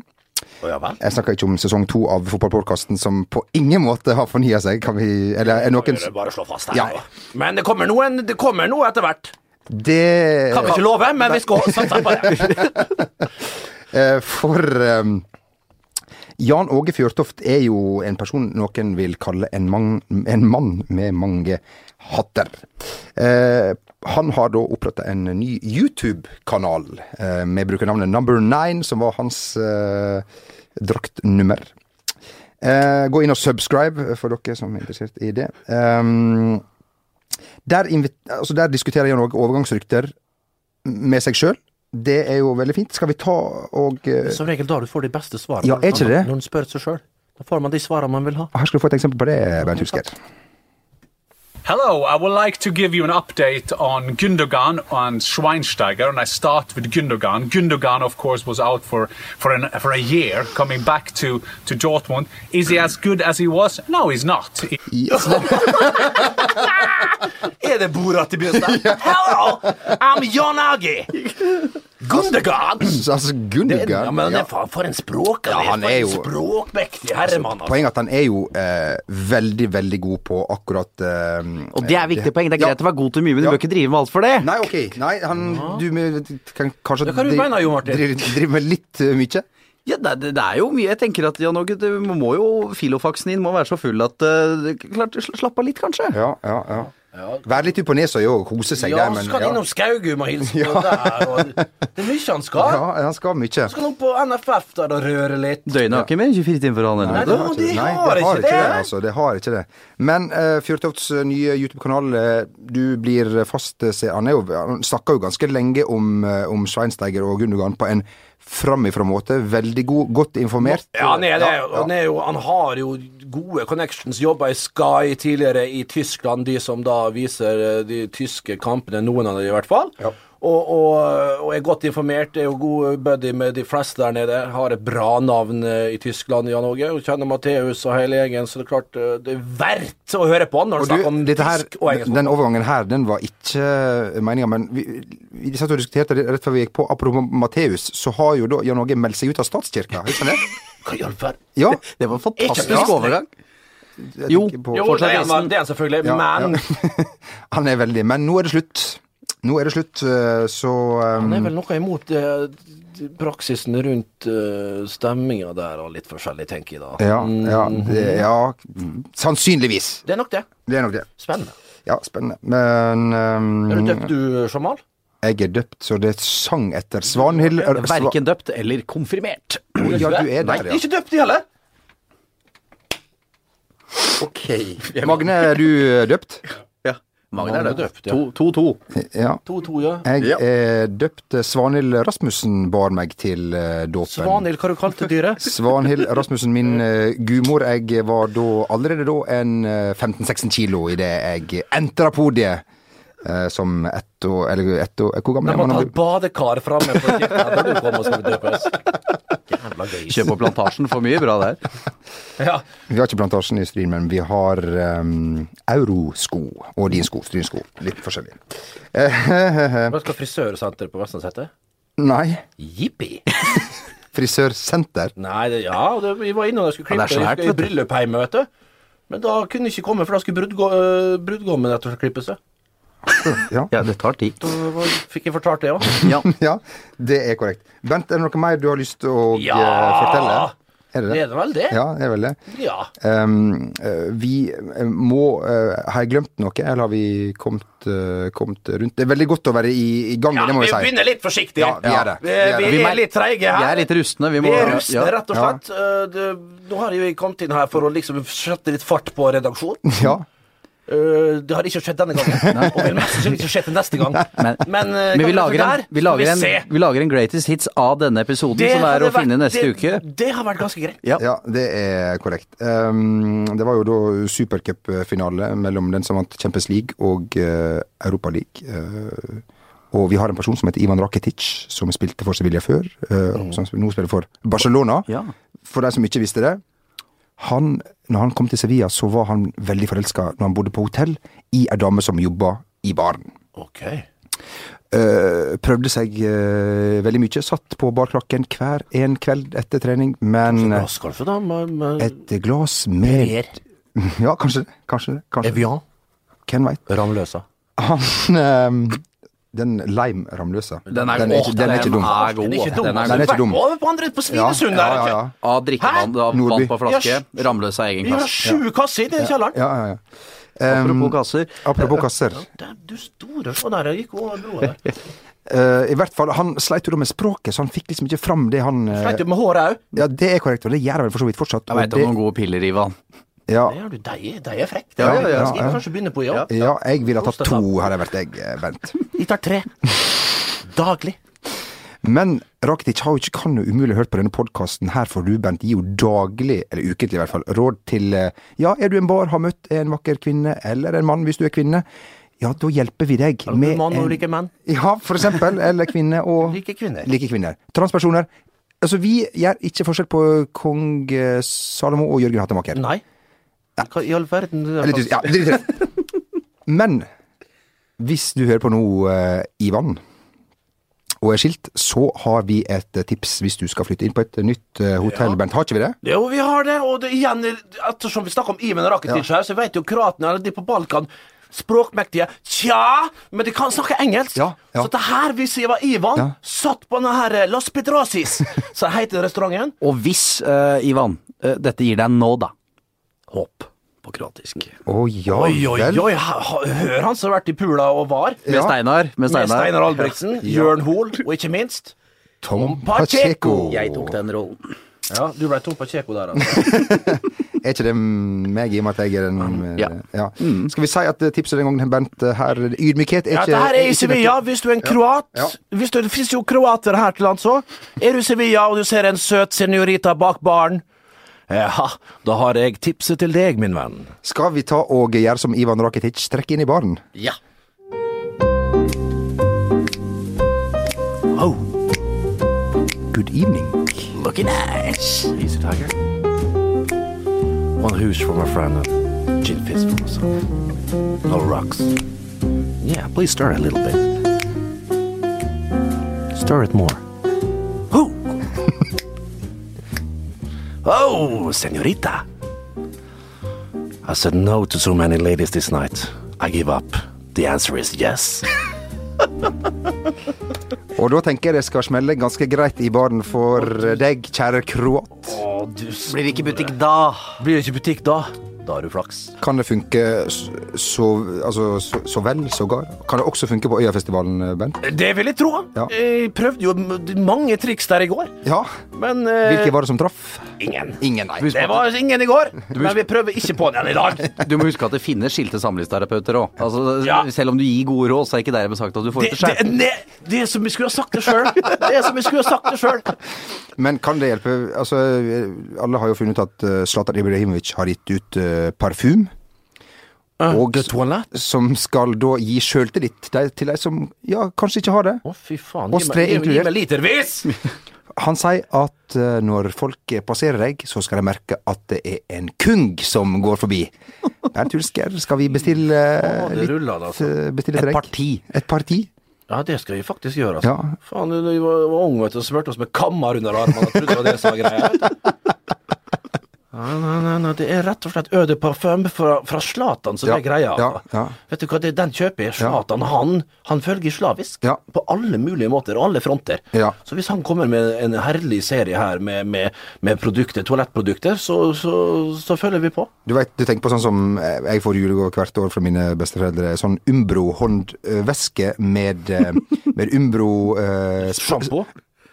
Å ja vel. Jeg snakker ikke om sesong to av Fotballpodkasten, som på ingen måte har fornya seg. Kan vi Eller er noen Det er Bare å slå fast her. Ja. nå. Men det kommer noe, en- det kommer noe etter hvert. Det Kan vi ikke love, men vi skal satse på det. Eh, For ehm, Jan Åge Fjørtoft er jo en person noen vil kalle en, mang, en mann med mange hatter. Eh, han har da oppretta en ny YouTube-kanal eh, med brukernavnet Number Nine, som var hans eh, draktnummer. Eh, gå inn og subscribe, for dere som er interessert i det. Ehm, der, invit- altså der diskuterer Jan Åge overgangsrykter med seg sjøl. Det er jo veldig fint. Skal vi ta og eh, Som regel da du får de beste svarene. Ja, er ikke det? Når man spør seg sjøl. Da får man de svarene man vil ha. Her skal du få et eksempel på det, Bernt Husker. Hello, I would like to give you an update on Gundogan and Schweinsteiger, and I start with Gundogan. Gundogan, of course, was out for for, an, for a year, coming back to to Dortmund. Is he as good as he was? No, he's not. He- Er det Borat i begynnelsen? Hello, I'm John Agi. Gundergan. Altså, Gundogan Ja, men det ja. er faen for en språk Ja, han for er en jo- språkmektig herremann. Altså. Poenget er at han er jo eh, veldig, veldig god på akkurat eh, Og det er viktig poeng. Det er Ja. greit å være god til mye, men du Ja. bør ikke drive med alt for det. Nei, ok. Nei, han Du med, kan kanskje Det kan du dri- mene, Jo Martin. dri- Driver med litt eh, mye. Ja, det, det- det er jo mye. Jeg tenker at Jan Åge, du må jo filofaxen din må være så full at eh, klart, sl- Slapp av litt, kanskje. Ja, ja, ja. Være litt ut på nesa og kose seg der, Ja, så men skal han ja. innom Skaugum og hilse på der. Og det er mye han skal. ja, han skal mye. Skal han opp på NFF der og røre litt? Døgnet har ikke mer enn 24 timer for han Nei, heller. det vet du. har de har ikke det. altså. Det har ikke det. Men eh, Fjørtofts eh, nye YouTube-kanal, eh, du blir fast eh, se- Han, er jo, han snakker jo ganske lenge om, eh, om Schweinsteiger og Gundogan på en framifrå måte. Veldig god, godt informert. Ja, han er det. Ja, ja. Han, er jo, han har jo gode connections. Jobba i Sky tidligere i Tyskland, de som da viser eh, de tyske kampene, noen av dem i hvert fall. Og, og, og er godt informert, er jo god buddy med de fleste der nede. Har et bra navn eh, i Tyskland, Jan Åge. Og kjenner Matheus og hele gjengen, så det er klart eh, det er verdt å høre på han når Og han snakker om du, dette her, tysk og engelsk. den overgangen her, den var ikke meninga, men vi, vi satt og diskuterte det rett før vi gikk på. Apropos Matteus, så har jo da Jan Åge meldt seg ut av statskirka, har ikke han det? Hva i all verden? Ja. Det var en Ikke fantastisk bra. overgang. jeg Jo, tenker på- Jo, det Fortsatt er han, Jensen. det er han selvfølgelig, Ja, men ja. Han er veldig Men nå er det slutt. Nå er det slutt, eh, så han er eh, vel noe imot eh, praksisen rundt uh, stemminga der og litt forskjellig, tenker jeg da. ja, ja, det, ja, sannsynligvis. Det er nok det. Det er nok det. Spennende. Ja, spennende. Men eh, Er du døpt du, Jamal? Jeg er døpt, så det sang etter Svanhild Sva- Verken døpt eller konfirmert. Ja, du er Nei, der, ja. ikke døpt i heller. Ok. Magne, er du eh, døpt? Ja. Magne er døpt. ja. 2-2. Ja. 2-2, ja. Jeg Ja. er døpt eh, Svanhild Rasmussen bar meg til eh, dåpen. Svanhild, hva du kalte dyret? Svanhild Rasmussen, min eh, gudmor. Jeg var da, allerede da en eh, 15-16 kilo idet jeg entra podiet eh, som ett og Eller ett og Hvor gammel De er har man? tatt badekar framme på kirka når du kommer og skal døpes. Jævla gøy. Kjøp på Plantasjen for mye bra der. Ja. Vi har ikke Plantasjen i Stryn, men vi har ehm, eurosko og din sko. Strynsko. Litt forskjellig. Eh. Hva skal frisørsenteret på Vestnes hete? Nei, Jippi. frisørsenter. Nei, det, ja, det, vi var innom det skulle klippe Ja, det er svært, i vet du. bryllupsheimet, vet du. Men da kunne jeg ikke komme, for da skulle brudgå- øh, brudgommen rett og slett klippe seg. Ja. Ja, det tar tid. Så hva- Fikk jeg fortalt det òg? Ja. ja, det er korrekt. Bent, er det noe mer du har lyst til å eh, Ja! fortelle? Er Det det er det? vel det? Ja, det er vel det. Ja. Ehm, eh, vi eh, må eh, Har jeg glemt noe, eller har vi kommet, eh, kommet rundt? Det er veldig godt å være i, i gang, Ja, det må vi vi si. begynner litt forsiktig. Ja, vi er det. Vi, Vi er det. vi Vi er mer- litt treige her. Vi er litt rustne. Vi, må, Vi er rustne, ja. rett og slett. Eh, det, nå har jeg jo kommet inn her for å liksom sette litt fart på redaksjonen. Ja. Eh, det har ikke skjedd denne gangen, og vil mest sannsynlig ikke skje til neste gang. Men, Men, eh, kan men vi, lager dette en, der, vi, skal lager en, se. vi lager en greatest hits av denne episoden, som er hadde å finne vært- neste det, uke. Det har vært ganske greit. Ja. ja, det er korrekt. Ehm, det var jo da supercupfinale mellom den som vant Champions League og eh, Europa League. Eh, og vi har en person som heter Ivan Rakitic, som spilte for Sevilla før. eh, og Som sp- nå spiller for Barcelona. Mm. Ja. For de som ikke visste det. Han, når han kom til Sevilla, så var han veldig forelska når han bodde på hotell i ei dame som jobba i baren. Ok. Eh, prøvde seg eh, veldig mye. Satt på barkrakken hver en kveld etter trening, men Hva skal du for da? med- med- et glass med Ja, kanskje det. Kanskje det. Kanskje. det. Evian. Hvem veit. Ramløsa. Han ehm, Den lime-ramløsa. Den, er- er ikke- den er åh, ikke dum. den er god. Den er ikke dum. Den er- altså. den er ikke dum. Vært Over på andre på Svinesund ja, der. ja, ja. Av drikkevann, da, vann Nordby. på flaske. Ramløs av egen Vi har kasse. sju kasser i den kjelleren. ja, ja, ja. Um, Apropos kasser. Apropos kasser. Det- Du store Se der, jeg gikk over broa der. Eh, I hvert fall, Han sleit jo da med språket, så han fikk liksom ikke fram det han eh, Sleit jo med håret òg. Ja, Det er korrekt, og det gjør han vel for så vidt fortsatt. og Jeg veit om det- noen gode piller, Ivan. ja, Det er du, de er, de er frekke. Ja, ja, ja. Skal jeg kanskje begynne på, ja? ja, jeg ville ha tatt to, hadde jeg vært jeg, eh, Bent. Vi tar tre. Daglig. Men Rakitic har jo ikke, kan jo umulig ha hørt på denne podkasten her, for du, Bent, gir jo daglig, eller ukentlig i hvert fall, råd til eh, Ja, er du en bar, har møtt en vakker kvinne, eller en mann hvis du er kvinne, ja, da hjelper vi deg Med med mann og en- ulike menn. Ja, for eksempel. Eller kvinne og Like kvinner. Like kvinner. Transpersoner. Altså, vi gjør ikke forskjell på kong eh, Salomo og Jørgen Hattemaker. Nei. Hva i all verden det er Eller, slags- ja, litt rett. Men hvis du hører på nå, eh, Ivan, og er skilt, så har vi et eh, tips hvis du skal flytte inn på et nytt eh, hotell. Bent, har ikke vi det? Jo, vi har det, og det, igjen, ettersom vi snakker om Ivan Rakitic her, så vet jo kroatene, eller de på Balkan, språkmektige Tja, men de kan snakke engelsk. Ja, ja. Så det her vi sier var Ivan, Ja. satt på denne her eh, Los Pedrasis, så heter restauranten. Og hvis, eh, Ivan, eh, dette gir deg nå, da Håp på kroatisk. Å ja Oi, oi, vel. oi, ha- ha- hør han som har vært i pula og var. Med Steinar. Med Med Steinar. Steinar Albrigtsen, Jørn Hoel, og ikke minst Tom Pacheco. Jeg tok den rollen. Ja, du ble tom på Kjeko der, altså. Er ikke det meg, i og med at jeg er den eh, Ja. ja. Skal vi si at eh, tipset den gangen, Bent, eh, her Ydmykhet er Mm. Ja, ikke det her er i ikke Sevilla. Hvis du er en kroat Ja. Hvis du, Det fins jo kroater her til lands òg. Er du i Sevilla og du ser en søt senorita bak baren, ja, da har jeg tipset til deg, min venn. nødt- Skal vi ta og gjøre som Ivan Rakitic, trekke inn i baren? Ja. Oh, Good evening. looking nice. He's a tiger. One who's from a friend of gin fistfuls. No rocks. Yeah, please stir a little bit. Stir it more. Who? oh, senorita. I said no to so many ladies this night. I give up. The answer is yes. Og da tenker jeg det skal smelle ganske greit i baren for deg, kjære kroat. Blir det ikke butikk da? Blir det ikke butikk da? Da har du flaks. Kan det funke s- så, altså, så, så vel, sågar? Kan det også funke på Øyafestivalen, Bent? Det vil jeg tro. Eh, Ja. Jeg prøvde jo m- mange triks der i går, Ja. men eh, Hvilke var det som traff? Ingen. Ingen, nei. Det var ingen i går, men vi prøver ikke på den i dag. Du må huske at det finnes skilte samlivsterapeuter òg. Altså, Ja. Selv om du gir gode råd, så er ikke dermed sagt at du får Det, det til det, sjøl. ne, det er som vi skulle ha sagt det sjøl. Det er som vi skulle ha sagt det sjøl. Men kan det hjelpe? Altså, alle har jo funnet ut at eh, Zlatan Ibrahimovic har gitt ut eh, parfym. Eh, Og som skal da gi sjøltillit de- til de som ja, kanskje ikke har det. Å, fy faen. Oss Gi tre meg, gi meg- gi inkludert. meg litervis! Han sier at eh, når folk eh, passerer deg, så skal de merke at det er en kung som går forbi. Bernt Hulsker, skal vi bestille eh, Å, det litt ruller, det, altså. eh, bestille til Et deg? parti. Et parti? Ja, det skal vi faktisk gjøre, altså. Ja. Faen, du, du var, var ung, vet du, og smurte oss med kammer under armene. Jeg Trodde det var det som var greia. vet du. Nei, nei, nei, nei, det er rett og slett Eau de Parfum fra, fra Zlatan som Ja, er greia. altså. ja, ja. Vet du hva det, den kjøper jeg. Zlatan, han, han følger slavisk. Ja. På alle mulige måter, alle fronter. Ja. Så hvis han kommer med en herlig serie her med, med, med produkter, toalettprodukter, så, så, så følger vi på. Du vet, du tenker på sånn som eh, jeg får julegave hvert år fra mine besteforeldre. Sånn Umbro-håndvæske med, eh, med Umbro eh, sp- Sjampo.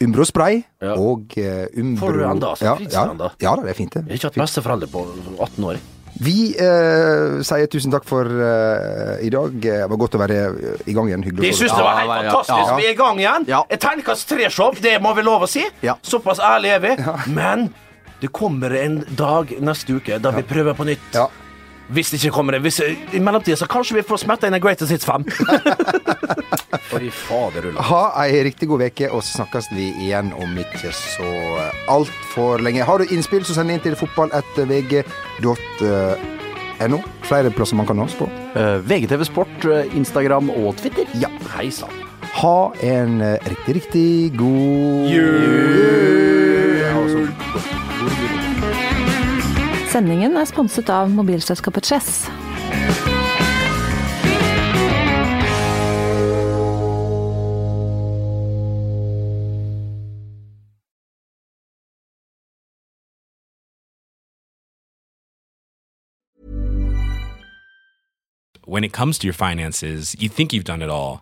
Umbro-spray Ja. og eh, Umbro Får du den da, så ja, fryser ja, den da. ja da, det er fint, Jeg har det. ikke hatt besteforeldre på 18 år. Vi eh, sier tusen takk for eh, i dag. Det var godt å være eh, i gang igjen. Hyggelig De å få syns det var helt Ja, ja, ja. fantastisk. Ja. Vi er i gang igjen. Ja. Et terningkast tre-show, det må vi lov å si. Ja. Såpass ærlig er vi. Men det kommer en dag neste uke da vi prøver på nytt. Ja. Hvis det ikke kommer en hvis, I mellomtida så kanskje vi får smetta inn en Greatest Hits 5. Fy faderullan. Ha ei riktig god veke, og så snakkes vi igjen om ikke så altfor lenge. Har du innspill, så send inn til fotball.vg.no. eh, Flere plasser man kan nå oss på. VGTV Sport, eh, Instagram og Twitter. Ja. Hei sann. Ha en eh, riktig, riktig god Sendingen er sponset av mobilselskapet Chess. when it comes to your finances, you think you've done it all.